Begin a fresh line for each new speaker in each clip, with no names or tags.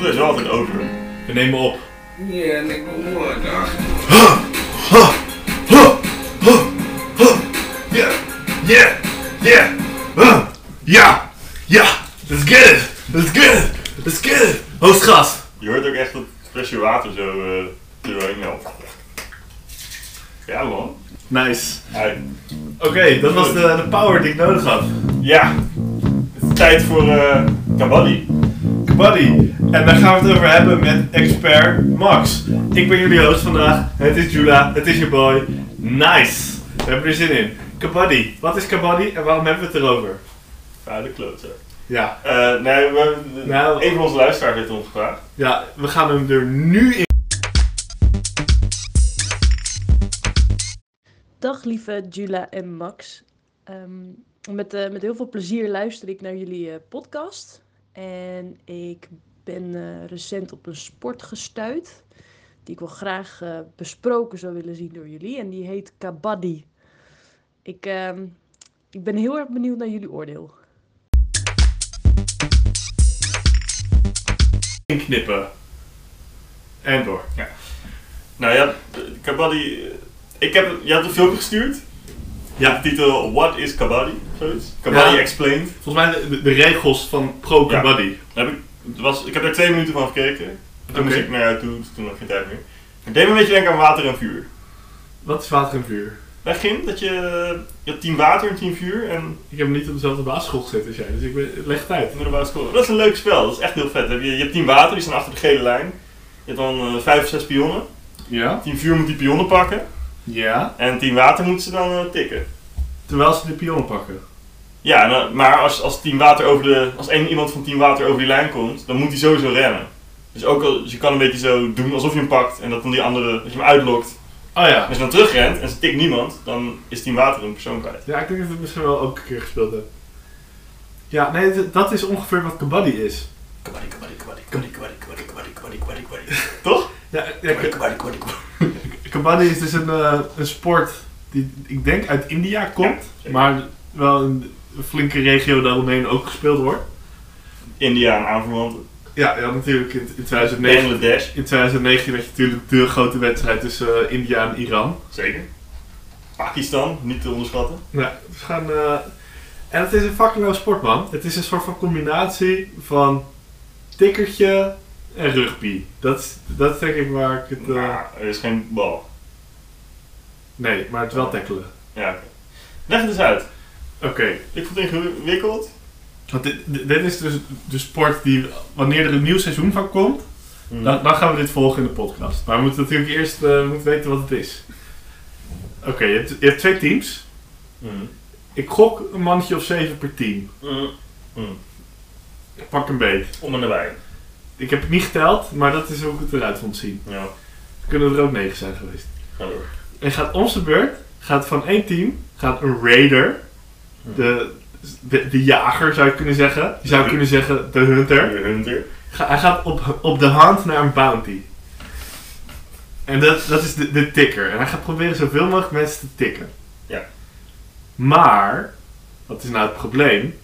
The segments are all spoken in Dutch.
er is wel altijd over.
We nemen op.
Ja, en ik ben moe daar.
Yeah, yeah, yeah. Huh. Ja, ja. Let's get it. Let's get it. Let's get it. Hoogst gas.
Je hoort ook echt dat flesje water zo eh doorheen helpt. Ja man.
Nice.
Hij-
Oké, dat was de, de power die ik nodig had.
Ja. Het is tijd voor eh Kabaddi.
Buddy. En daar gaan we het over hebben met expert Max. Ik ben jullie host vandaag. Het is Jula. Het is je boy. Nice. We hebben er zin in. Kabaddi. Wat is kabaddi en waarom hebben we het erover?
Ja, de klote.
Ja,
Eh, nee, we,
Nou.
een van onze luisteraars heeft ons gevraagd.
ja we gaan hem er nu in.
Dag lieve Jula en Max. Ehm, met, eh, met heel veel plezier luister ik naar jullie eh, podcast. En ik ben eh, recent op een sport gestuurd. Die ik wel graag eh, besproken zou willen zien door jullie. En die heet Kabaddi. Ik, ehm, ik ben heel erg benieuwd naar jullie oordeel.
knippen. En door.
Nou ja, eh, Kabaddi. eh, Ik heb, je had een filmpje gestuurd.
Ja.
De titel What is Kabaddi? Zoiets. Kabaddi
Ja.
Explained.
Volgens mij de, de regels van pro
Ja.
kabaddi.
Daar Heb ik, het was, ik heb daar twee minuten van gekeken. Toen
Oké.
moest ik naar jou toe, toen had ik geen tijd meer. Het deed me een beetje denken aan water en vuur.
Wat is water en vuur?
Bij Gim, dat je, je had team water en team vuur en
Ik heb hem niet op dezelfde basisschool gezeten als jij, dus ik ben, leg het uit.
middelbare school. Dat is een leuk spel, dat is echt heel vet. Dan heb Je, je hebt team water, die staan achter de gele lijn. Je hebt dan eh, vijf of zes pionnen.
Ja?
Team vuur moet die pionnen pakken.
Ja.
En team water moet ze dan eh, tikken.
Terwijl ze de pionnen pakken.
Ja, en dan- maar als, als, team water over de, als één iemand van team water over die lijn komt, dan moet hij sowieso rennen. Dus ook al, dus je kan een beetje zo doen alsof je hem pakt en dat dan die andere, dat je hem uitlokt.
Oh ja.
Als je dan terugrent en ze tikt niemand, dan is Team Water een persoon kwijt.
Ja, ik denk dat we het misschien wel ook een keer gespeeld hebben. Ja, nee, d- dat is ongeveer wat kabaddi is.
Kabaddi, kabaddi, kabaddi, kabaddi, kabaddi, kabaddi, kabaddi, kabaddi, kabaddi, kabaddi. Toch?
Ja, ja
Kabaddi,
k-
kabaddi, kabaddi, kabaddi.
kabaddi is dus een, eh, een sport die ik denk uit India komt,
zeker.
maar wel een flinke regio daaromheen ook gespeeld wordt.
India en aanverwanten.
Ja, ja natuurlijk in, in 2009.
Bangladesh.
In 2019 had je natuurlijk de grote wedstrijd tussen eh, India en Iran.
Zeker. Pakistan, niet te onderschatten.
Nou, we gaan. eh, en het is een fucking leuk sport, man. Het is een soort van combinatie van tikkertje en rugby. Dat, is- dat is denk ik waar ik het. eh,
Maar er is geen bal.
nee, maar het wel tackelen.
Ja, oké. Leg het eens uit.
Oké,
Ik vond het ingewikkeld.
want dit, dit dit is dus de sport die. wanneer er een nieuw seizoen van komt,
Hmm. Mhm.
dan, dan gaan we dit volgen in de podcast. Maar we moeten natuurlijk eerst eh, we moeten weten wat het is. Oké, je, hebt- je hebt twee teams.
Mm.
Ik gok een mannetje of zeven per team.
Mm. Mm.
Ik pak een beet.
Om en nabij.
Ik heb het niet geteld, maar dat is hoe ik het eruit vond zien.
Ja,
kunnen er ook negen zijn geweest.
ga door.
En gaat om zijn beurt, gaat van één team, gaat een raider,
Hm.
de, de, de jager zou je kunnen zeggen. Je zou kunnen zeggen de hunter.
De Hunter.
Ga- hij gaat op, op de hand naar een bounty. En dat, dat is de, de tikker. En hij gaat proberen zoveel mogelijk mensen te tikken.
Ja.
Maar, wat is nou het probleem?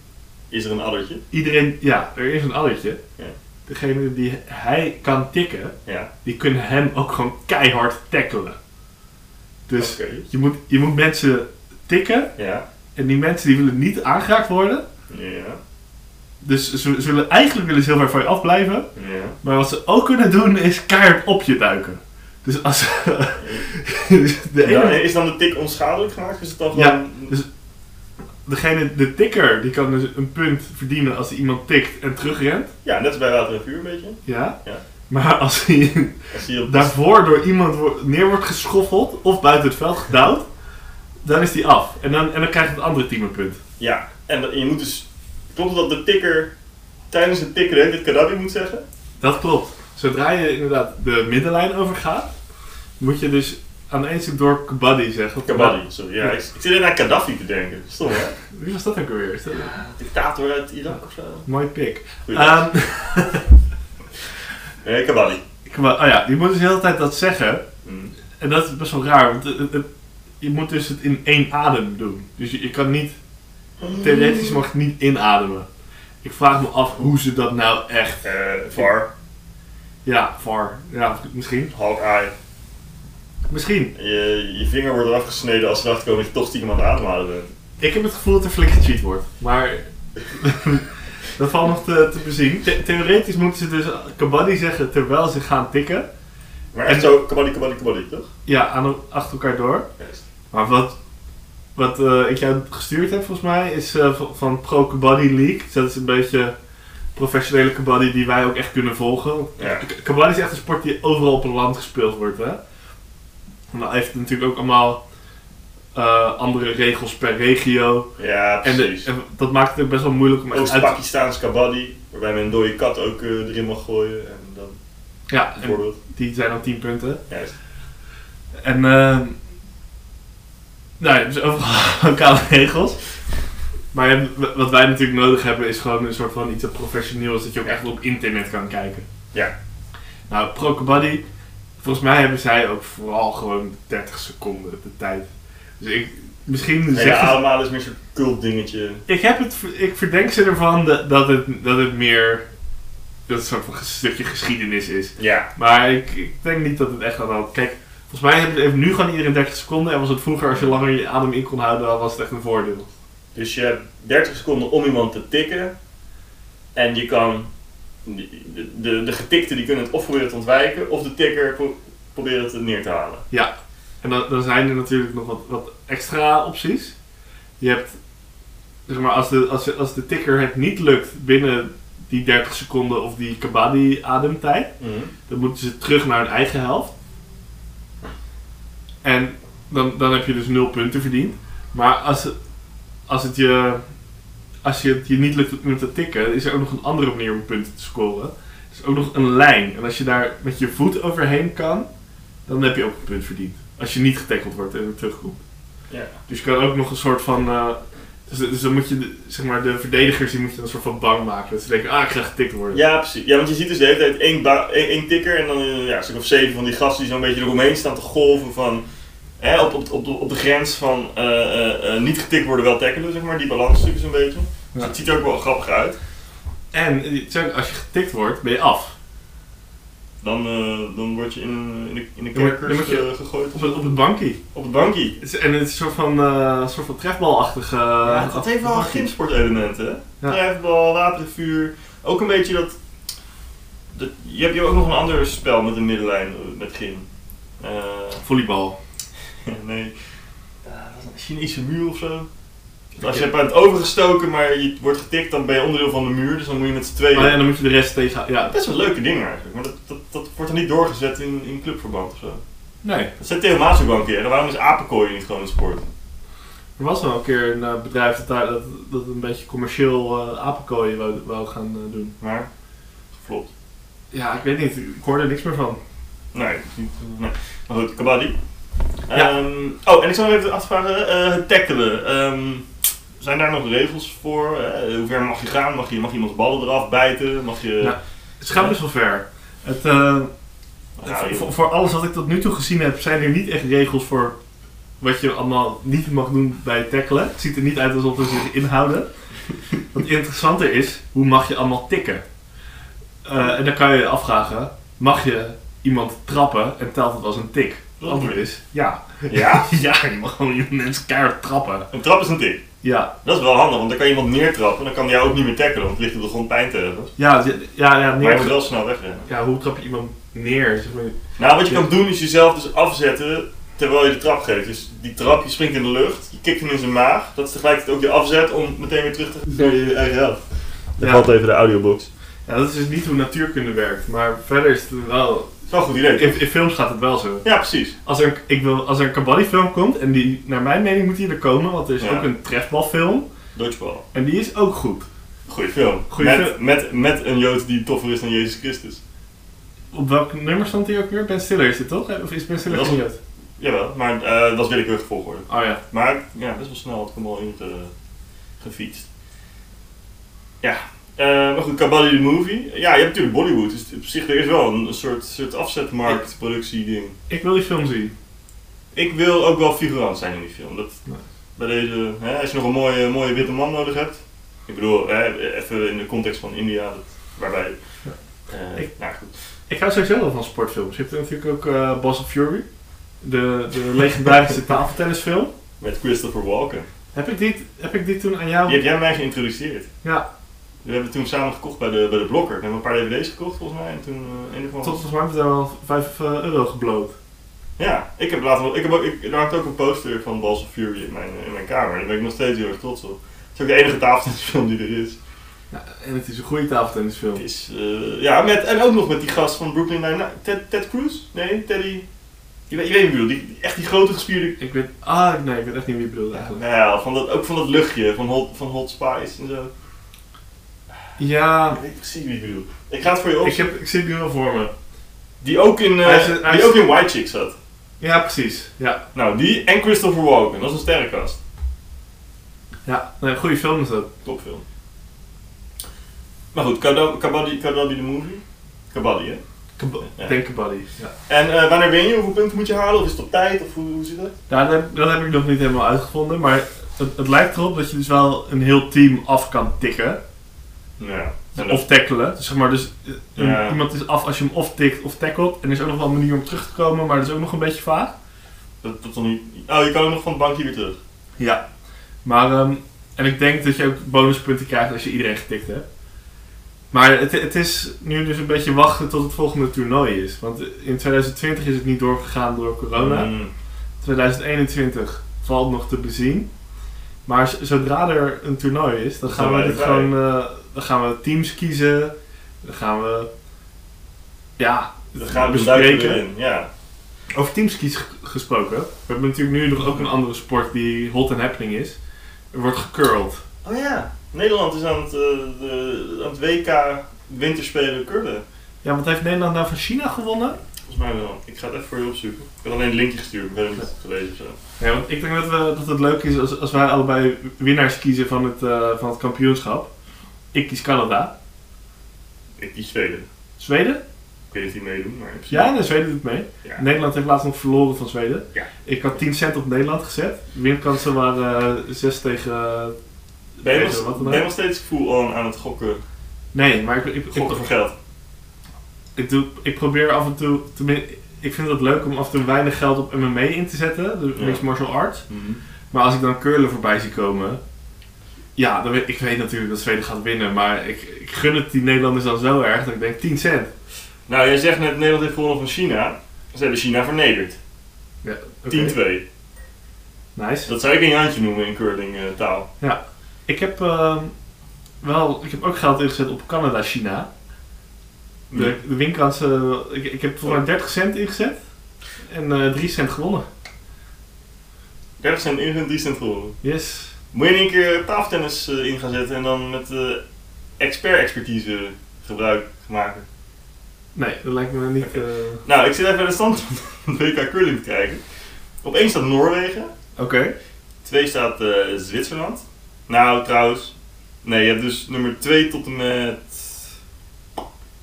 Is er een addertje?
Iedereen, ja, er is een allertje.
Ja.
Degene die hij kan tikken,
Ja.
die kunnen hem ook gewoon keihard tackelen. Dus
Oké.
je, moet, je moet mensen tikken
Ja.
en die mensen die willen niet aangeraakt worden.
Ja.
Dus ze zullen eigenlijk willen ze heel ver van je afblijven.
Ja.
Maar wat ze ook kunnen doen is keihard op je duiken. Dus als dus de
Ja,
ene,
Is dan de tik onschadelijk gemaakt? Is het dan
Ja. dus
gewoon...
degene, de tikker, die kan dus een punt verdienen als hij iemand tikt en terugrent.
Ja, net als bij water en vuur een beetje.
Ja.
Ja.
Maar als hij
Als je op
daarvoor door iemand wo- neer wordt geschoffeld of buiten het veld gedouwd, dan is die af. En dan, en dan krijgt het andere team een punt.
Ja, en dat- je moet dus... Klopt het dat de tikker tijdens het tikken de hele tijd kadabi moet zeggen?
Dat klopt. Zodra je inderdaad de middenlijn overgaat, moet je dus aan één stuk door kabaddi zeggen.
Kabaddi, sorry. Ja, ik, ik zit aan Gaddafi te denken. Stom, hè?
Wie was dat ook alweer? Is dat een
Dictator uit Irak of zo.
mooi pik.
Goeie.
Ehm,
Nee, Kabaddi.
ik wou- oh ja, je moet dus de hele tijd dat zeggen.
Mm.
En dat is best wel raar, want het- het- het- je moet dus het in één adem doen. Dus je, je kan niet, theoretisch mag je niet inademen. Ik vraag me af hoe ze dat nou echt...
Eh, VAR.
Ja, VAR. Ja, misschien.
Hawkeye.
Misschien.
Je, je vinger wordt eraf gesneden als ze erachter komen dat je toch stiekem aan het ademhalen bent.
Ik heb het gevoel dat er flink gecheat wordt. Maar dat valt nog te, te bezien. The- theoretisch moeten ze dus kabaddi zeggen terwijl ze gaan tikken.
Maar echt zo, kabaddi, kabaddi, kabaddi, toch?
Ja, aan, achter elkaar door. Maar wat, wat eh, ik jou gestuurd heb volgens mij is eh, van, van Pro Kabaddi League. Dus dat is een beetje professionele kabaddi die wij ook echt kunnen volgen.
Ja.
K- Kabaddi is echt een sport die overal op een land gespeeld wordt. Hè? Maar hij heeft natuurlijk ook allemaal eh, andere regels per regio.
Ja,
En, de-
precies. Oh,
en dat maakt het ook best wel moeilijk om
Ook
echt uit te...
Pakistaans kabaddi, waarbij men een dode kat ook eh, erin mag gooien. En dan
Ja, en
bijvoorbeeld.
die zijn dan 10 punten.
Juist.
En ehm nou ja, dus overal lokale regels. Maar ja, w- wat wij natuurlijk nodig hebben is gewoon een soort van iets dat professioneel is, dat je ook echt op internet kan kijken.
Ja.
Nou, Pro Kabaddi, volgens mij hebben zij ook vooral gewoon 30 seconden de tijd. Dus ik, misschien
En ja,
zeggen ze-
ademhalen is meer zo'n cult dingetje.
ik, heb het, ver- ik verdenk ze ervan dat, dat, het, dat het meer dat het een soort van een stukje geschiedenis is.
Ja.
Maar ik, ik denk niet dat het echt aan de hand. Kijk, volgens mij hebben- heeft nu gewoon iedereen 30 seconden. En was het vroeger, als je langer je adem in kon houden, dan was het echt een voordeel.
Dus je hebt 30 seconden om iemand te tikken. En je kan. De, de, de getikten die kunnen het of proberen te ontwijken, of de tikker pro- proberen het neer te halen.
En dan, dan zijn er natuurlijk nog wat, wat extra opties. Je hebt, zeg maar, als de, als, de- als de tikker het niet lukt binnen die 30 seconden of die kabaddi-ademtijd,
Mhm.
dan moeten ze terug naar hun eigen helft. En dan, dan heb je dus nul punten verdiend. Maar als, het- als, het je, als je het je niet lukt om te tikken, is er ook nog een andere manier om punten te scoren. Er is ook nog een lijn. En als je daar met je voet overheen kan, dan heb je ook een punt verdiend. Als je niet getackled wordt en weer terugkomt.
Ja.
Dus je kan ook nog een soort van. eh, dus, dus dan moet je, de- zeg maar, de verdedigers die moet je dan een soort van bang maken. Dat ze denken, ah, ik ga getikt worden.
Ja, precies. Ja, want je ziet dus de hele tijd één, ba- één, één tikker en dan eh, ja, een stuk of zeven van die gasten die zo'n beetje eromheen staan te golven van... Hè, op, op, op, de- op de grens van eh, eh, eh, niet getikt worden, wel tackelen, zeg maar. Die balans natuurlijk zo'n beetje. Dus
Ja.
het ziet er ook wel grappig uit.
En eh, het is ook, als je getikt wordt, ben je af.
Dan, eh, dan word je in, een- in de, in de
Dan word-
kerkers
dan word
eh, gegooid.
Op het, op het bankie.
Op het bankie.
Het is- En het is een soort van, eh, soort van eh, trefbalachtige...
ja, dat heeft wel een
bankie.
gymsportelement, hè?
Ja.
Trefbal, watervuur. Ook een beetje dat, dat... Je hebt hier ook nog een ander spel met een middenlijn eh, met gym. Eh,
Volleybal.
nee. Ja, was een Chinese muur of zo. Als je hebt het overgestoken, maar je wordt getikt, dan ben je onderdeel van de muur. Dus dan moet je met z'n tweeën.
Maar ja, dan moet je de rest tegen... Ja,
Best wel leuke dingen eigenlijk. Maar dat, dat, dat wordt er niet doorgezet in, in clubverband of zo.
nee.
Dat zei Theo Maas ook al een keer. hè. Waarom is apenkooien niet gewoon een sport?
Er was wel een keer een eh, bedrijf dat, daar, dat, dat een beetje commercieel eh apenkooien wou, wou gaan eh, doen.
Maar, geflopt.
Ja, ik weet niet. Ik hoorde er niks meer van.
Nee, dat is niet, nee. Maar goed, kabaddi.
Ja.
Ehm, oh, en ik zou nog even afvragen, eh het tackelen. Ehm, zijn daar nog regels voor? Eh, hoe ver mag je gaan? Mag, je, mag iemands ballen eraf bijten? Mag je...
Ja. Het gaat best wel ver. Het, eh,
Nou, je-
voor, voor alles wat ik tot nu toe gezien heb, zijn er niet echt regels voor wat je allemaal niet mag doen bij het tackelen. Het ziet er niet uit alsof ze zich inhouden. Wat interessanter is, hoe mag je allemaal tikken? Eh, en dan kan je je afvragen, mag je iemand trappen en telt het als een tik? Het antwoord is ja.
Ja?
ja, je mag gewoon mensen keihard trappen.
Een trap is een tik.
Ja,
Dat is wel handig, want dan kan iemand neertrappen en dan kan hij jou ook niet meer tackelen, want het ligt op de grond pijn te hebben.
ja, ja, ja, ja,
Maar je moet
neer,
wel snel wegrennen.
ja hoe trap je iemand neer? Zeg maar,
Nou, wat je kan doen is jezelf dus afzetten terwijl je de trap geeft. Dus die trap, je springt in de lucht, je kikt hem in zijn maag. Dat is tegelijkertijd ook je afzet om meteen weer terug te gaan naar je eigen helft.
Dat valt
even de audiobox.
ja, dat is dus niet hoe natuurkunde werkt, maar verder is het wel...
Dat is wel een goed idee.
In, in films gaat het wel zo.
Ja, precies.
Als er, een- ik wil, als er een kabaddi-film komt, en die, naar mijn mening moet die er komen, want er is
Ja.
ook een trefbalfilm,
Dodgeball.
en die is ook goed.
Goeie film.
Goeie
met,
film.
Met, met een Jood die toffer is dan Jezus Christus.
Op welk nummer stond die ook weer? Ben Stiller is het toch? Of is Ben Stiller
Dat is-
geen Jood?
Jawel, maar eh dat is willekeurig volgorde.
Oh ja.
Maar ja, best wel snel had ik hem al in ge- gefietst. Ja, eh, maar goed, Kabali de Movie. Ja, je hebt natuurlijk Bollywood, dus op zich er is wel een, een soort, soort afzetmarkt, productie ding.
Ik wil die film zien.
Ik wil ook wel figurant zijn in die film. Dat,
Nee.
bij deze, hè, als je nog een mooie, mooie witte man nodig hebt. Ik bedoel, hè, even in de context van India, dat, waarbij Eh,
Ik-
nou goed.
Ik hou sowieso wel van sportfilms. Je hebt natuurlijk ook eh Boss of Fury, de, de legendarische tafeltennisfilm.
Met Christopher Walken.
Heb ik, die, heb ik die toen aan jou...
Die heb jij mij geïntroduceerd.
Ja.
We hebben toen samen gekocht bij de, bij de Blokker. We hebben een paar dvd's gekocht volgens mij. En toen eh, in ieder geval...
Tot volgens mij hebben we daar wel 5 euro gebloot.
Ja, ik heb later... wel- Ik heb ook, ik, er hangt ook een poster van Balls of Fury in mijn, in mijn kamer. Daar ben ik nog steeds heel erg trots op. Het is ook de enige tafeltennisfilm die er is.
Ja, en het is een goede tafeltennisfilm.
Het is eh, ja, met, en ook nog met die gast van Brooklyn Nine-Nine. Ted, Ted Cruz? Nee, Teddy... Je weet, je weet wie ik bedoel. Die, die- echt die grote gespierde...
Ik weet... Ah, nee, ik weet echt niet wie je bedoelt eigenlijk.
Nou ja, van dat, ook van dat luchtje. Van Hot, van hot Spice en zo.
Ja,
Ik weet precies wie ik bedoel. Ik ga het voor je
ik,
opzoeken.
heb, ik zie het nu wel voor me.
Die ook in, eh,
Hij is- hij
die
is-
ook in White Chicks zat.
Ja, precies. Ja,
Nou, die en Christopher Walken. Dat is een sterrenkast.
ja. Nee, goede film is dat.
Topfilm. Maar goed, Kado- Kabaddi Kabaddi de Movie. Kabaddi, hè?
Kab-
Ja.
Denk buddy. Ja.
En eh, wanneer ben je? Hoeveel punten moet je halen? Of is het op tijd? Of hoe, hoe zit dat?
Ja, dat, heb, dat heb ik nog niet helemaal uitgevonden, maar het, het lijkt erop dat je dus wel een heel team af kan tikken.
Nou Ja.
Of tackelen. Dus zeg maar, dus eh, een-
Ja.
iemand is af als je hem of tikt of tackelt. En er is ook nog wel een manier om terug te komen, maar dat is ook nog een beetje vaag.
dat, dat dan niet... Oh, je kan ook nog van het bankje weer terug.
Ja. Maar, ehm, en ik denk dat je ook bonuspunten krijgt als je iedereen getikt hebt. Maar het, het is nu dus een beetje wachten tot het volgende toernooi is. Want in 2020 is het niet doorgegaan door corona.
Mm.
2021 valt nog te bezien. Maar z- zodra er een toernooi is, dan
Dan
gaan we
zijn wij
dit
erbij.
gewoon. eh, dan gaan we teams kiezen. Dan gaan we. Ja,
Dan gaan we duiken
bespreken.
erin. Ja.
Over teams kiezen g- gesproken. We hebben natuurlijk nu nog ook een andere sport die hot and happening is. Er wordt gecurled.
Oh ja. Nederland is aan het, eh, de- aan het WK winterspelen curlen.
Ja, want heeft Nederland nou van China gewonnen?
Volgens mij wel. Ik ga het even voor je opzoeken. Ik had alleen een linkje gestuurd. Ik ben het niet gelezen of zo.
Ja, want ik denk dat, we, dat het leuk is als, als wij allebei winnaars kiezen van het, eh, van het kampioenschap. Ik kies Canada.
Ik kies Zweden.
Zweden?
Ik weet niet of die meedoen, maar... in principe-
Ja, nee, Zweden doet mee.
Ja.
Nederland heeft laatst nog verloren van Zweden.
Ja.
Ik had 10 cent op Nederland gezet. Winkansen waren eh, 6 tegen. eh,
Ben je,
tegen
nog,
wat dan
ben je
ook.
nog steeds full on aan het gokken,
Nee, maar ik, ik, ik,
gokken voor geld?
ik doe, ik probeer af en toe. tenmin- Ik vind het leuk om af en toe weinig geld op MMA in te zetten, dus
Ja.
mixed martial arts.
Mhm.
Maar als ik dan curlen voorbij zie komen. Ja, dan weet, ik weet natuurlijk dat Zweden gaat winnen, maar ik, ik gun het die Nederlanders dan zo erg dat ik denk 10 cent.
Nou, jij zegt net Nederland heeft gewonnen van China. Ze hebben China vernederd.
Ja, oké.
10-2.
Nice.
Dat zou ik een handje noemen in curling eh, taal.
Ik heb, ehm, wel, ik heb ook geld ingezet op Canada-China. De, de winkansen, ik, ik heb
Oh.
voor mij 30 cent ingezet en eh, 3 cent gewonnen.
30 cent in en 3 cent gewonnen.
Yes.
Moet je in één keer tafeltennis eh, in gaan zetten en dan met eh, expert-expertise gebruik maken.
Nee, dat lijkt me niet. eh, Oké.
Nou, ik zit even naar de stand van de WK curling te kijken. Op één staat Noorwegen. Twee staat eh, Zwitserland. Nou, trouwens. Nee, je hebt dus nummer 2 tot en met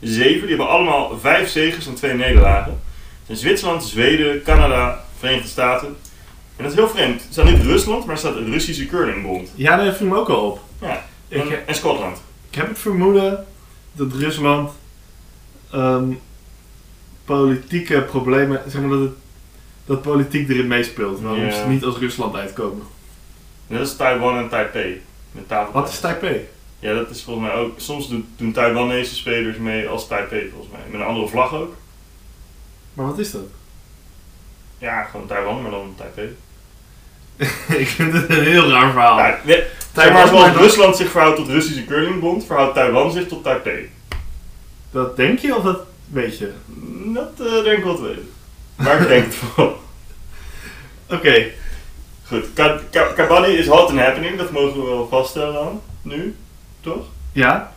7. Die hebben allemaal 5 zegens en 2 nederlagen. Het zijn Zwitserland, Zweden, Canada, Verenigde Staten. En dat is heel vreemd. Er staat niet Rusland, maar er staat een Russische curlingbond.
Ja, daar viel me ook al op.
Ja.
Ik, eh,
En, en Schotland.
ik heb het vermoeden dat Rusland ehm, politieke problemen, zeg maar dat, het, dat politiek erin meespeelt. Waarom
Ja.
ze niet als Rusland uitkomen.
En dat is Taiwan en Taipei. Met tafel.
Wat is Taipei?
Ja, dat is volgens mij ook. Soms doen, doen Taiwanese spelers mee als Taipei, volgens mij. Met een andere vlag ook.
Maar wat is dat?
Ja, gewoon Taiwan, maar dan Taipei.
ik vind het een heel raar verhaal.
Nou, we- Zeg maar zoals Rusland zich verhoudt tot Russische curlingbond, verhoudt Taiwan zich tot Taipei.
Dat denk je of dat weet je?
Dat eh, denk ik wel te weten. Maar ik denk het wel.
Oké.
Goed, Ka- Ka- Kabaddi is hot and happening, dat mogen we wel vaststellen dan. Nu, toch?
Ja?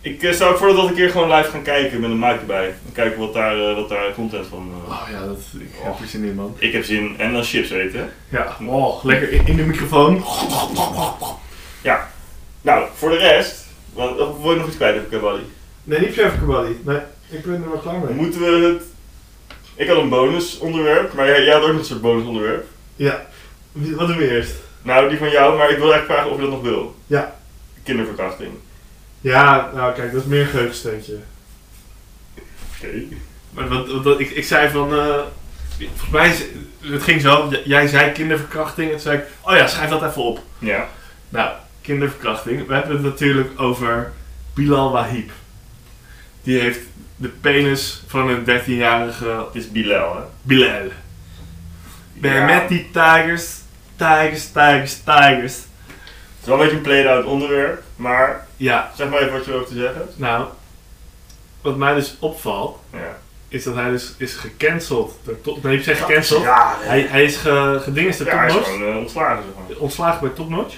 Ik eh, zou voordat dat een keer gewoon live gaan kijken met een mic erbij. En kijken wat daar, eh, wat daar content van... eh.
Oh ja, dat, ik heb er zin in, man.
Ik heb zin, en dan chips eten. hè.
Ja, oh, lekker in, in de microfoon.
Nou, voor de rest... Want, of wil je nog iets kwijt over Kabaddi?
Nee, niet Chef Kabali. Nee, ik ben er wel klaar mee.
Moeten we het... Ik had een bonusonderwerp, maar jij, jij had ook nog een soort bonusonderwerp.
Ja. Wat doen we eerst?
Nou, die van jou, maar ik wil eigenlijk vragen of je dat nog wil.
Ja.
Kinderverkrachting.
Ja, nou kijk, dat is meer een geheugensteuntje.
Oké.
Maar wat, wat- wat- ik, ik zei van. eh, volgens mij, is- het ging zo. j- Jij zei kinderverkrachting. En toen zei ik. Oh ja, schrijf dat even op.
Ja.
Nou, kinderverkrachting. We hebben het natuurlijk over Bilal Wahib. Die heeft de penis van een 13-jarige
Het is Bilal, hè?
Bilal. Ben je
Ja.
met die tigers, tigers, tigers, tigers.
Het is wel een beetje een played-out onderwerp, maar
Ja,
zeg maar even wat je erover te zeggen hebt.
nou, wat mij dus opvalt,
Ja.
is dat hij dus is gecanceld. Door top, nee, ik zeg gecanceld.
Ja, nee.
Hij, hij is ge, gedingest door
ja, hij is
Topnotch.
gewoon eh, ontslagen, zeg maar.
Ontslagen bij Topnotch.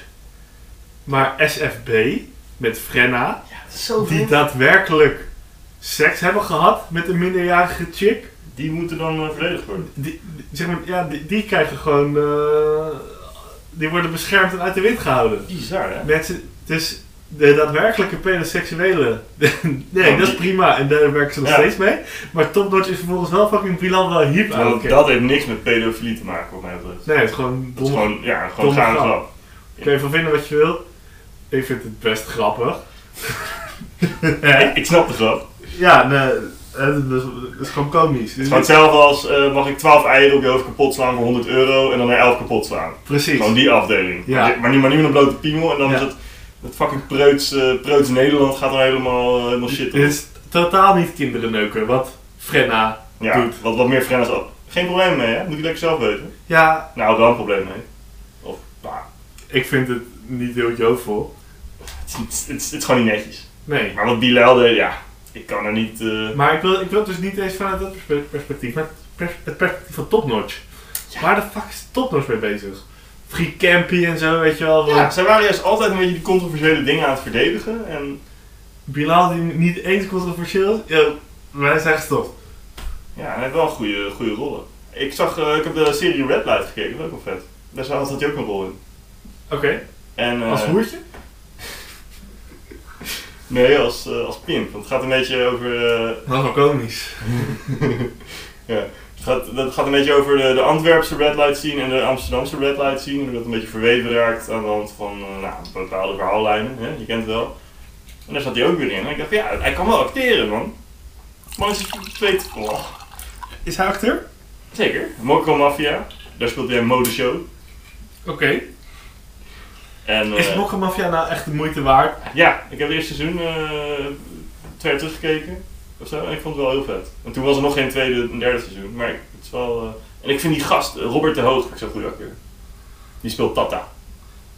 Maar SFB, met Frenna,
Zo
die daadwerkelijk seks hebben gehad met een minderjarige chick.
Die moeten dan eh, verdedigd worden.
Die, die- zeg maar, ja, die, die krijgen gewoon... eh, die worden beschermd en uit de wind gehouden.
Bizar, hè?
Mensen, dus de daadwerkelijke pedoseksuele. nee,
Oh,
dat is
die-
prima en daar werken ze nog
Ja.
steeds mee. Maar topnotch is vervolgens wel fucking Bilan wel hip aan.
Want Nou, dat heeft niks met pedofilie te maken, wat mij betreft.
Nee, het is gewoon
Dat is
dom.
gewoon, ja, gewoon
domme
gaande
grap.
grap.
Kun je van vinden wat je wilt? Ik vind het best grappig.
Ik, ik snap de grap. Het
ja, nee, het is, het is gewoon
is
komisch.
gewoon hetzelfde als, eh, mag ik 12 eieren op je hoofd kapot slaan voor 100 euro en dan er 11 kapot slaan.
Precies.
Gewoon die afdeling.
Ja.
Maar, niet- maar niet maar niet met een blote piemel en dan
Ja.
is het, het fucking preuts, eh, preuts Nederland gaat er helemaal, eh, helemaal shit op.
Dit is totaal niet kinderen neuken, wat Frenna.
Ja,
Doet.
wat, wat meer frenna's op. Geen probleem mee, hè? Moet je lekker zelf weten.
Ja,
Nou, wel een probleem mee. Of, nou,
ik vind het niet heel jovel.
het is, niet- het, is, het is gewoon niet netjes.
Nee.
Maar wat Bilal deed, ja, ik kan er niet... eh,
Maar ik wil, ik wil het dus niet eens vanuit dat perspe- perspectief, maar het pers- het perspectief van Topnotch. Waar de fuck is Topnotch mee bezig? Free Campy en zo, weet je wel.
Ja,
Ja.
zij waren juist altijd een beetje die controversiële dingen aan het verdedigen. En
Bilal die niet eens controversieel is. Ja, wij zijn gestopt.
ja, hij heeft wel een goede, goede rollen. Ik zag, eh, ik heb de serie Red Light gekeken, dat is ook wel vet. Daar zat had hij ook een rol in.
Oké,
En, eh,
als hoertje?
Nee, als, eh, als pimp. Want het gaat een beetje over... eh,
Dat is wel komisch.
ja, het gaat, dat gaat een beetje over de, de Antwerpse Red Light scene en de Amsterdamse Red Light scene. Hoe dat een beetje verweven raakt aan de hand van eh, nou, bepaalde verhaallijnen. Hè? Je kent het wel. En daar zat hij ook weer in. En ik dacht, van, ja, hij kan wel acteren, man. Man is twee... Oh.
Is hij acteur?
Zeker. Mokko Mafia. Daar speelt hij een modeshow.
Oké.
En, eh,
Is Mokka Mafia nou echt de moeite waard?
Ja, ik heb het eerste seizoen eh, twee jaar teruggekeken. Of zo. En ik vond het wel heel vet. En toen was er nog geen tweede en derde seizoen. Maar ik, het is wel... eh, En ik vind die gast, eh, Robert de Hoog, vind ik zo'n goede acteur. Die speelt Tata.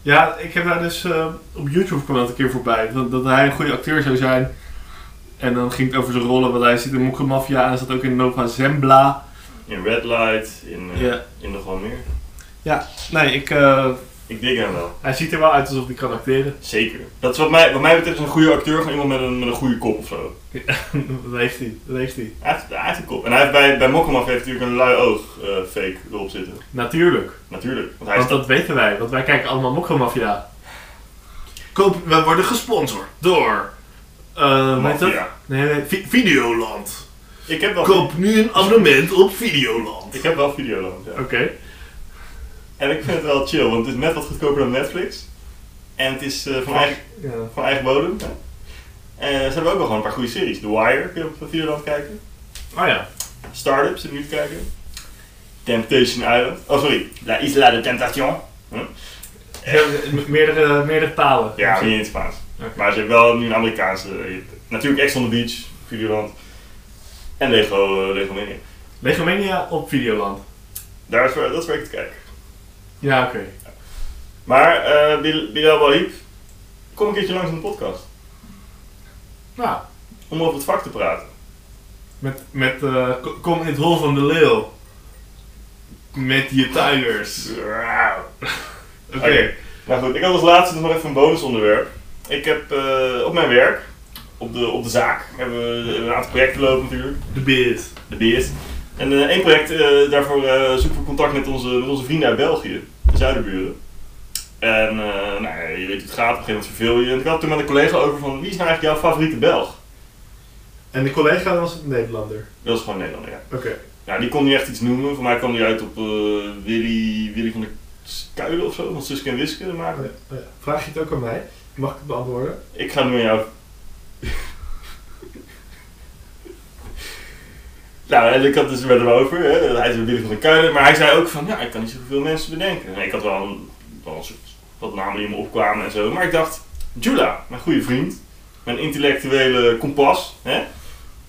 Ja, ik heb daar dus eh, op YouTube kwam dat een keer voorbij. Dat, dat hij een goede acteur zou zijn. En dan ging het over zijn rollen, want hij zit in Mokka Mafia en hij zat ook in Nova Zembla.
In Red Light, in, eh,
Ja.
in nog wel meer.
Nee, ik... eh,
Ik dik hem wel.
Hij ziet er wel uit alsof hij kan acteren.
Zeker. Dat is wat mij, wat mij betreft een goede acteur, gewoon iemand met een, met een goede kop of zo.
dat heeft hij, dat heeft hij.
Hij heeft, hij heeft een kop. En hij heeft bij, bij Mokko Mafia heeft hij natuurlijk een lui oog eh, fake erop zitten.
Natuurlijk.
Natuurlijk. Want hij is
Want dat weten wij, want wij kijken allemaal Mokko Mafia. Koop, wij worden gesponsord door... eh weet dat?
Mafia.
Nee, nee, Vi- Videoland.
Ik heb wel...
nu een abonnement op Videoland.
Ik heb wel Videoland, ja.
Oké.
En ik vind het wel chill, want het is net wat goedkoper dan Netflix. En het is eh, van, eigen,
Ja.
van eigen bodem. Hè? En ze hebben ook wel gewoon een paar goede series. The Wire kun je op Videoland kijken.
Oh ja.
Startups zit nu te kijken. Temptation Island. Oh, sorry. La Isla de Tentación.
Ze hebben meerdere, meerdere talen.
Ja, maar niet in het Spaans.
Oké.
Maar ze hebben wel nu een Amerikaanse. je hebt natuurlijk Ex on the Beach, Videoland. En Lego, eh, Lego Mania.
Legomania op Videoland.
Daar is, waar- dat is waar ik te kijken.
Ja, oké.
Maar eh Bil- Bilal Wahib, kom een keertje langs in de podcast.
Nou,
Om over het vak te praten.
met, met eh, ko- kom in het hol van de leeuw. Met je tigers. Oké.
Oké. Nou goed, ik had als laatste dus nog even een bonusonderwerp. Ik heb eh, op mijn werk, op de, op de zaak, hebben we een aantal projecten lopen natuurlijk.
De beest.
De BS. En eh, één project, eh, daarvoor eh, zoeken we contact met onze, met onze vrienden uit België, de zuiderburen. En eh, nou, ja, je weet hoe het gaat, op een gegeven moment verveel je. En ik had het toen met een collega over van, wie is nou eigenlijk jouw favoriete Belg?
En de collega was een Nederlander.
Dat is gewoon Nederlander, ja.
Oké.
Nou, die kon niet echt iets noemen. Voor mij kwam die uit op eh, Willy, Willy van der Kuilen of zo, van Suske en Wiske te
Oh
maken.
Vraag je het ook aan mij? Mag ik het beantwoorden?
Ik ga nu aan jou. Nou, en ik had het dus met hem over. Hè. Hij is Willy van de Kuilen. Maar hij zei ook van, ja, ik kan niet zoveel mensen bedenken. En ik had wel een, wel een soort wat namen die me opkwamen en zo. Maar ik dacht, Jula, mijn goede vriend. Mijn intellectuele kompas. Hè.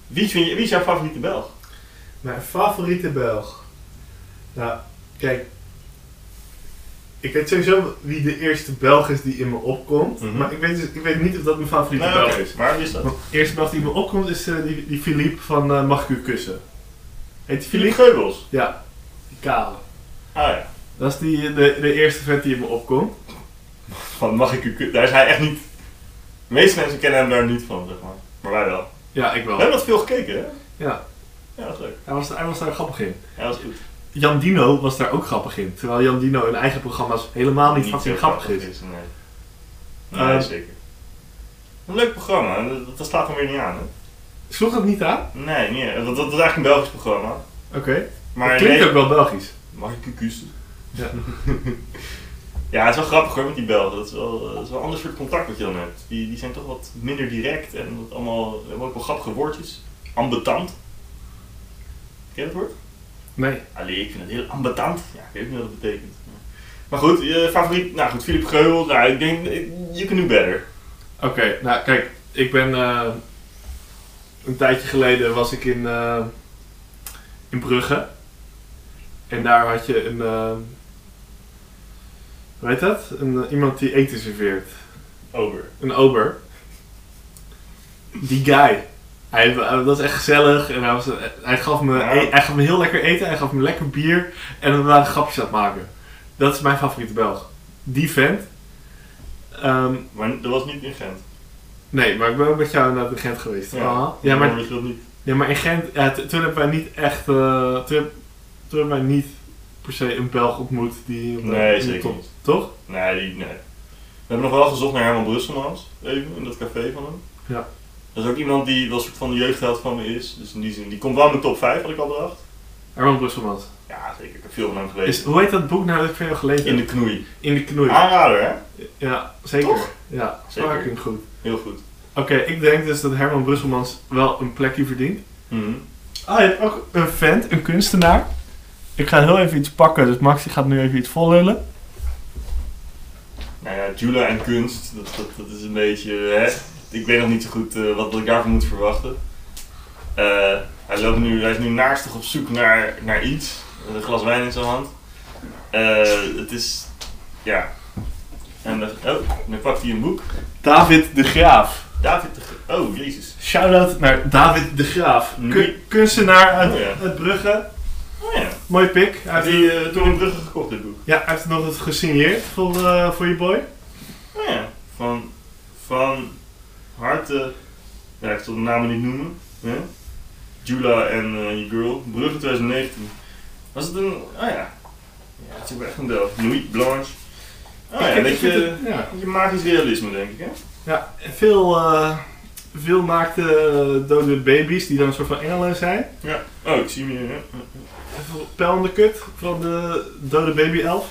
Wie, vind je, wie is jouw favoriete Belg?
Mijn favoriete Belg. Nou, kijk. Ik weet sowieso wie de eerste Belg is die in me opkomt.
Mhm.
Maar ik weet, dus, ik weet niet of dat mijn favoriete
Nou,
Belg
oké,
is.
Maar wie is dat?
Want de eerste Belg die in me opkomt is eh, die, die Philippe van eh, Mag ik u kussen? Heet die
Philippe
Philippe?
Geubels.
Ja, die kale.
Ah ja.
Dat is die, de, de eerste vent die in me opkomt.
Van, mag ik u... ku- Daar is hij echt niet... De meeste mensen kennen hem daar niet van, zeg maar. Maar wij wel.
Ja, ik
We
wel.
hebben dat veel gekeken, hè?
Ja,
Ja, dat is leuk.
hij was, hij was daar grappig in.
Ja, dat is goed.
Jan Dino was daar ook grappig in. Terwijl Jan Dino in eigen programma's helemaal niet, Ah, fucking
zo
grappig is.
nee. Nee,
Eh,
zeker. Een leuk programma, en dat, dat slaat hem weer niet aan, hè?
Sloeg dat niet aan?
Nee, niet, eh, dat, dat, dat is eigenlijk een Belgisch programma.
Oké.
Maar
dat klinkt
nee,
ook wel Belgisch.
mag ik u kussen?
Ja.
ja, het is wel grappig hoor, met die Belgen. Dat is wel, eh, dat is wel een ander soort contact wat je dan hebt. Die, die zijn toch wat minder direct en wat allemaal, hebben ook wel grappige woordjes. Ambetant. Ken je dat woord?
Nee.
Allee, ik vind het heel ambetant. Ja, ik weet ook niet wat dat betekent. Maar goed, je favoriet, nou goed, Philip Geul, nou ik denk, eh, you can do better.
Oké, nou kijk, ik ben. eh, een tijdje geleden was ik in. eh, in Brugge. En daar had je een. eh, hoe heet dat? Een, eh, iemand die eten serveert.
Over.
Een ober. Die guy. Hij, eh, hij was echt gezellig en hij, was, eh, hij, gaf me, e-,
Ja.
hij gaf me heel lekker eten, hij gaf me lekker bier en we waren grapjes aan het maken. Dat is mijn favoriete Belg. Die vent. Ehm,
Maar dat was niet in Gent.
Nee, maar ik ben ook met jou inderdaad in Gent geweest. Ah. Ja,
maar
maar,
wist je dat niet.
ja, maar in Gent, ja, t- toen hebben wij niet echt, eh, toen, heb- toen hebben wij niet per se een Belg ontmoet die op de-
Nee,
in de
zeker
top-
niet.
Toch?
Nee, die, nee. We hebben nog wel gezocht naar Herman Brusselmans, even, in dat café van hem.
Ja.
Dat is ook iemand die wel een soort van de jeugdheld van me is. Dus in die zin, die komt wel in de top 5, had ik al bedacht.
Herman Brusselmans.
Ja, zeker. Ik heb veel van hem
Is,
gelezen.
hoe heet dat boek nou dat ik van jou gelezen
In de
heb?
knoei.
In de knoei.
Aanrader, hè?
Ja, zeker.
Toch?
Ja,
Zeker.
fucking goed.
Heel goed.
Oké, ik denk dus dat Herman Brusselmans wel een plekje verdient. Ah, je hebt ook een vent, een kunstenaar. Ik ga heel even iets pakken, dus Max die gaat nu even iets volhullen.
Nou ja, Jula en kunst, dat, dat, dat is een beetje... Hè? Ik weet nog niet zo goed eh, wat, wat ik daarvan moet verwachten. Eh, hij, loopt nu, hij is nu naastig op zoek naar, naar iets. Met een glas wijn in zijn hand. Eh, het is... Ja. En dan, oh, dan pakt hij een boek.
David de Graaf.
David de... Ge- Oh, jezus.
Shoutout naar David de Graaf,
Mm.
Kun- kunstenaar uit,
Oh ja.
uit Brugge.
Oh ja.
Mooi pik. Hij
Heeft
heeft,
hij eh, door in Brugge gekocht, dit boek?
ja, hij heeft nog het gesigneerd voor, eh, voor je boy.
Oh ja. Van... Van... Harte... Ja, ik zal de namen niet noemen. Hè? Jula en eh, je girl. Brugge 2019. Was het een... Oh ja. Ja, het is ook echt een deel. Nuit Blanche. Oh ja,
Ik
een
vind- ik vind
beetje...
het- ja.
Je magisch realisme, denk ik, hè?
Ja, en veel, eh, veel maakte eh, dode baby's die dan een soort van engelen zijn.
Ja. Oh, ik zie hem hier, hè?
En veel Pijl in de kut van de dode baby elf.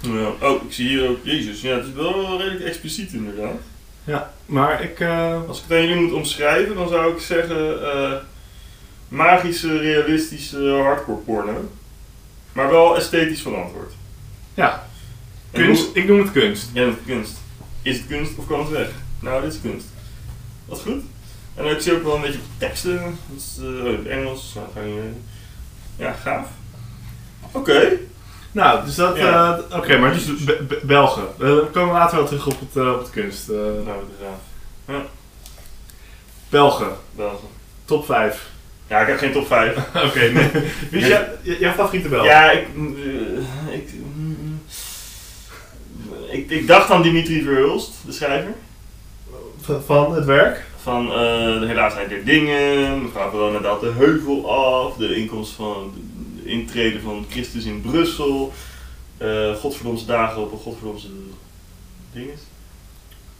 Ja. Oh, ik zie hier ook... Jezus, ja, het is wel redelijk expliciet, inderdaad.
Maar ik... eh,
Als ik het aan jullie moet omschrijven, dan zou ik zeggen eh, magische, realistische hardcore porno. Maar wel esthetisch verantwoord.
ja,
En
kunst. Ik noem het kunst.
hoe- Ja, dat is kunst. Is het kunst of kan het weg? Nou, dit is kunst. Dat is goed. En ik zie ook wel een beetje teksten. Dat is eh, oh, in het Engels. Nou, ga ik niet weten. Ja, gaaf. Oké.
Nou, dus dat...
Ja.
eh, Oké, maar dus Be- Be- Belgen. Eh, we komen later wel terug op het, eh, op het kunst. eh.
Nou, dat is gaaf.
Belgen,
België.
top 5.
Ja, ik heb geen top 5.
Oké, nee. Wie is jou- j- jouw favoriete Belg?
Ja, ik, eh, ik, mm, ik. Ik dacht aan Dimitri Verhulst, de schrijver.
V- Van het werk?
Van eh, de helaasheid der dingen, mevrouw Verona daalt de heuvel af, de inkomst van de intrede van Christus in Brussel, eh godverdomse dagen op een godverdomse dinges.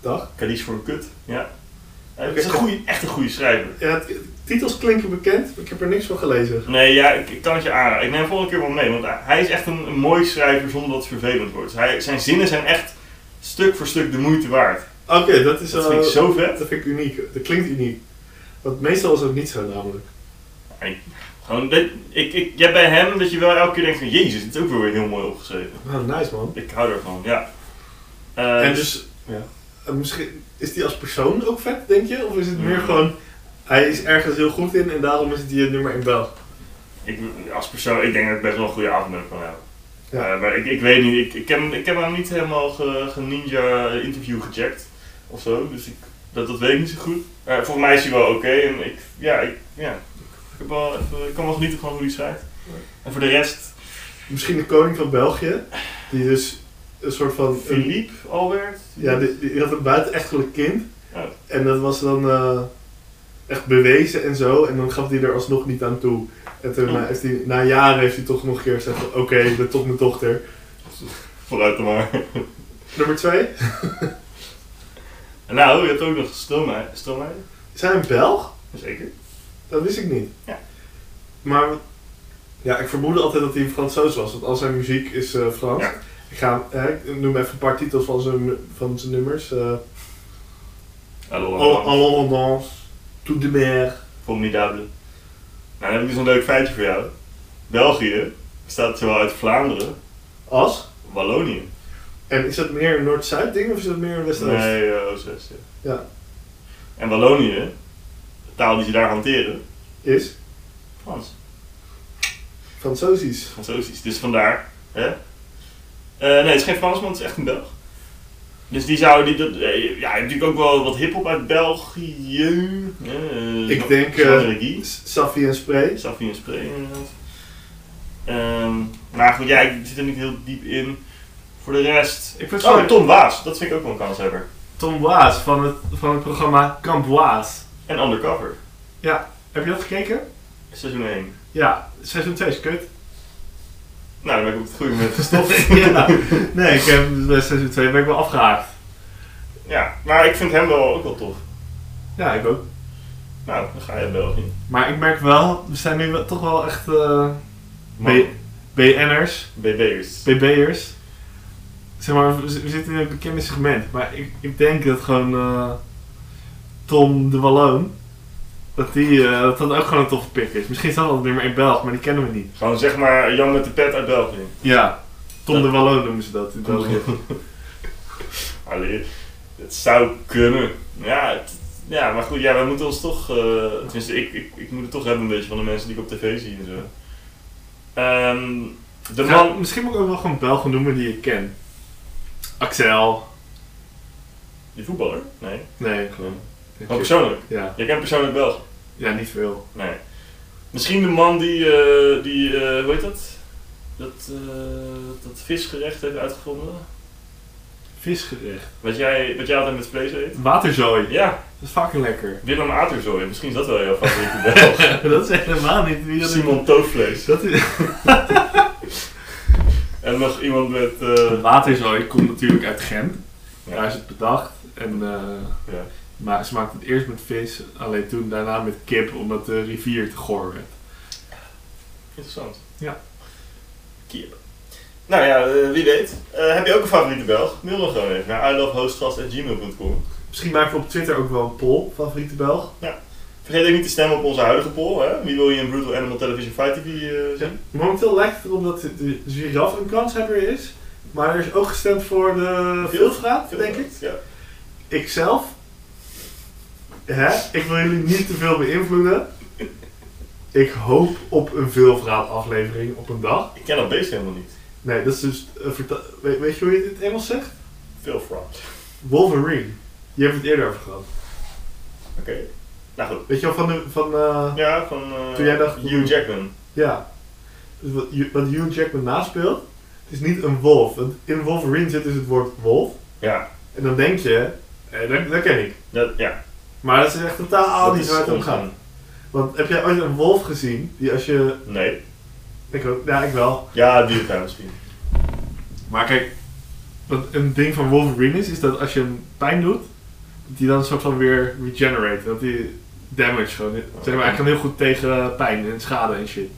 Dag.
Cadiz voor een kut, ja. Hij
Oké.
is een goeie, echt een goede schrijver.
Ja, het- titels klinken bekend, maar ik heb er niks van gelezen.
Nee, ja, ik, ik kan het je aanraden. Ik neem hem volgende keer wel mee, want hij is echt een, een mooi schrijver zonder dat het vervelend wordt. Hij, zijn zinnen zijn echt stuk voor stuk de moeite waard.
Oké, dat is
Dat
wel-
eh,
vind ik zo vet.
Dat vind ik uniek. Dat klinkt uniek. Want meestal is het niet zo namelijk.
Nee. Gewoon, weet- ik, ik, jij bij hem dat je wel elke keer denkt van Jezus, dit is ook weer heel mooi opgeschreven.
Nou, nice man.
Ik hou ervan, ja. Eh,
En dus, ja.
Eh, misschien, is die als persoon ook vet, denk je? Of is het meer
Mm.
gewoon, hij is ergens heel goed in en daarom is het hier nummer 1 bel?
ik, als persoon, ik denk dat ik best wel een goede avond met hem kan hebben.
Ja.
Eh, maar ik, ik weet niet, ik, ik, heb, hem- ik heb hem niet helemaal ge, geninja interview gecheckt of zo, dus ik, dat, dat weet ik niet zo goed. Eh, volgens mij is hij wel oké en ik, ja, ik, ja, ik, heb wel even- ik kan wel genieten van hoe hij schrijft.
Ja.
En voor de rest,
Misschien de koning van België, die dus een soort van... een-
Philippe Albert.
Ja, die, die had een buitenechtelijk kind.
Ja.
En dat was dan eh, echt bewezen en zo. En dan gaf hij er alsnog niet aan toe. En toen,
Oh.
eh, heeft hij, na jaren heeft hij toch nog een keer gezegd van... Oké, ik ben toch mijn dochter.
Vooruit dan maar.
Nummer twee.
En nou, je hebt ook nog Stilmeij. Stilmeij?
Is hij een Belg?
Zeker.
Dat wist ik niet.
Ja.
Maar ja, ik vermoedde altijd dat hij een Fransoos was. Want al zijn muziek is eh, Frans.
Ja.
Ik, ga, eh, ik noem even een paar titels van zijn, van zijn nummers. eh
Hallo, hallo.
Allons, en danse, Tout de mer.
Formidable. Nou, dan heb ik dus een leuk feitje voor jou. België bestaat zowel uit Vlaanderen,
As.
Wallonië.
En is dat meer een Noord-Zuid ding of is dat meer een West-Oost?
Nee, eh, Oost-West. ja.
Ja.
En Wallonië, de taal die ze daar hanteren,
Is
Frans.
Fransosies.
Fransosisch. Dus vandaar, hè? Eh, nee, het is geen Fransman, het is echt een Belg. Dus die zou, die, dat, eh, ja, je hebt natuurlijk ook wel wat hip-hop uit België. Eh,
Ik denk, eh,
Jean Regie.
Safi en Spray.
Safi en Spray inderdaad. Ehm, maar goed, ja, ik zit er niet heel diep in. Voor de rest...
Ik vind
Oh,
het zo
Tom Waas. Dat vind ik ook wel een kanshebber.
Tom Waas van het, van het programma Kamp Waas.
En Undercover.
Heb je dat gekeken?
Seizoen 1.
Ja, seizoen 2 is kut.
Nou, dan ben ik op het goede moment gestopt.
ja. Nee, ik heb dus bij seizoen 2 ben ik wel afgehaakt.
ja, maar ik vind hem wel ook wel tof.
Ja, ik ook.
Nou, dan ga je in België.
Maar ik merk wel, we zijn nu wel- toch wel echt eh
Man,
Nee. BN'ers,
BB'ers.
BB'ers. Zeg maar, we we zitten in een bekende segment. Maar ik, ik denk dat gewoon eh, Tom de Walloon, dat, die, eh, dat dat ook gewoon een toffe pik is. Misschien staat dat nummer 1 Belg, maar die kennen we niet.
Gewoon zeg maar Jan met de pet uit België.
Ja, Tom
Dat-
de Walloon noemen ze dat in België.
Allee, het zou kunnen. Ja, het- ja, maar goed, ja, we moeten ons toch. eh, tenminste, ik, ik, ik moet het toch hebben een beetje van de mensen die ik op tv zie en zo. Ehm, de
Ja,
man.
misschien moet ik ook wel gewoon Belgen noemen die ik ken. Axel.
Die voetballer? Nee.
Nee,
Gewoon
gewoon.
persoonlijk.
Ja.
Jij kent persoonlijk wel.
ja, niet veel.
Nee. Misschien de man die. eh, die eh, hoe heet dat? Dat, eh, dat visgerecht heeft uitgevonden.
Visgerecht.
Wat jij, wat jij altijd met vlees eet.
Waterzooi.
Ja,
Dat is fucking lekker.
Willem Aterzooi. Misschien is dat wel jouw favoriete Belg.
dat is helemaal niet wie dat ik-
Simon Toofvlees.
Dat is...
En nog iemand met. eh,
Waterzooi komt natuurlijk uit Gent.
Ja.
Daar is het bedacht. En, eh,
Ja.
Maar ze maakten het eerst met vis, alleen toen daarna met kip, omdat de rivier te goor werd.
Interessant.
Ja.
Kiep. Nou ja, eh, wie weet. Eh, heb je ook een favoriete Belg? Mail dan gewoon even naar ilovehostgast.gmail.com
Misschien maken we op Twitter ook wel een poll. Favoriete Belg.
Vergeet ook niet te stemmen op onze huidige poll. Hè? Wie wil je in Brutal Animal Television Fight TV eh, zien?
Momenteel lijkt het erop dat de- de giraf een kanshebber is. Maar er is ook gestemd voor de Vilfraat, denk ik.
Ja.
Ikzelf. Hè? Ik wil jullie niet te veel beïnvloeden. Ik hoop op een Vilfraat aflevering op een dag.
Ik ken dat beest helemaal niet.
Nee, dat is dus... eh, verta- weet, weet je hoe je het in het Engels zegt?
Veel fraud.
Wolverine. Je hebt het eerder over gehad.
Oké. Nou goed.
Weet je wel, van de... Van, eh,
Ja, van eh,
Toen jij dacht-
Hugh Jackman.
Ja. Dus wat, Hugh- wat Hugh Jackman naspeelt, het is niet een wolf. Want in Wolverine zit dus het woord wolf.
Ja.
En dan denk je, eh, dat, dat ken ik.
Dat, ja.
Maar dat is echt totaal
dat
niet
is
waar het om
onzin.
gaat. Want heb jij ooit een wolf gezien die als je...
Nee.
Ik ook, ja, ik wel.
Ja, die gaan misschien.
Maar kijk, wat een ding van Wolverine is, is dat als je hem pijn doet, dat hij dan een soort van weer regenerate. Dat hij damage gewoon. Zeg maar, hij kan heel goed tegen pijn en schade en shit.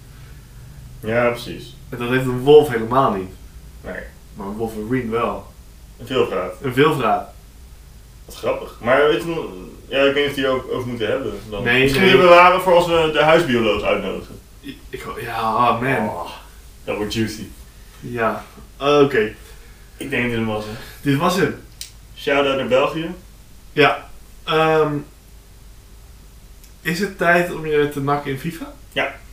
Ja, precies.
En dat heeft een wolf helemaal niet.
Nee.
Maar een Wolverine wel.
Veel fraud.
Een wilvraat.
Wat grappig. Maar weet je, nog- ja, ik weet niet of die ook over moeten hebben. Dan.
Nee,
Misschien
nee.
die bewaren voor als we de huisbioloog uitnodigen.
Ik, ho- ja, oh man.
Dat wordt juicy.
Ja, oké.
Ik denk dat het hem was. hè.
Dit was het.
Shout-out naar België.
Ja. Ehm, is het tijd om je te nakken in FIFA?
Ja.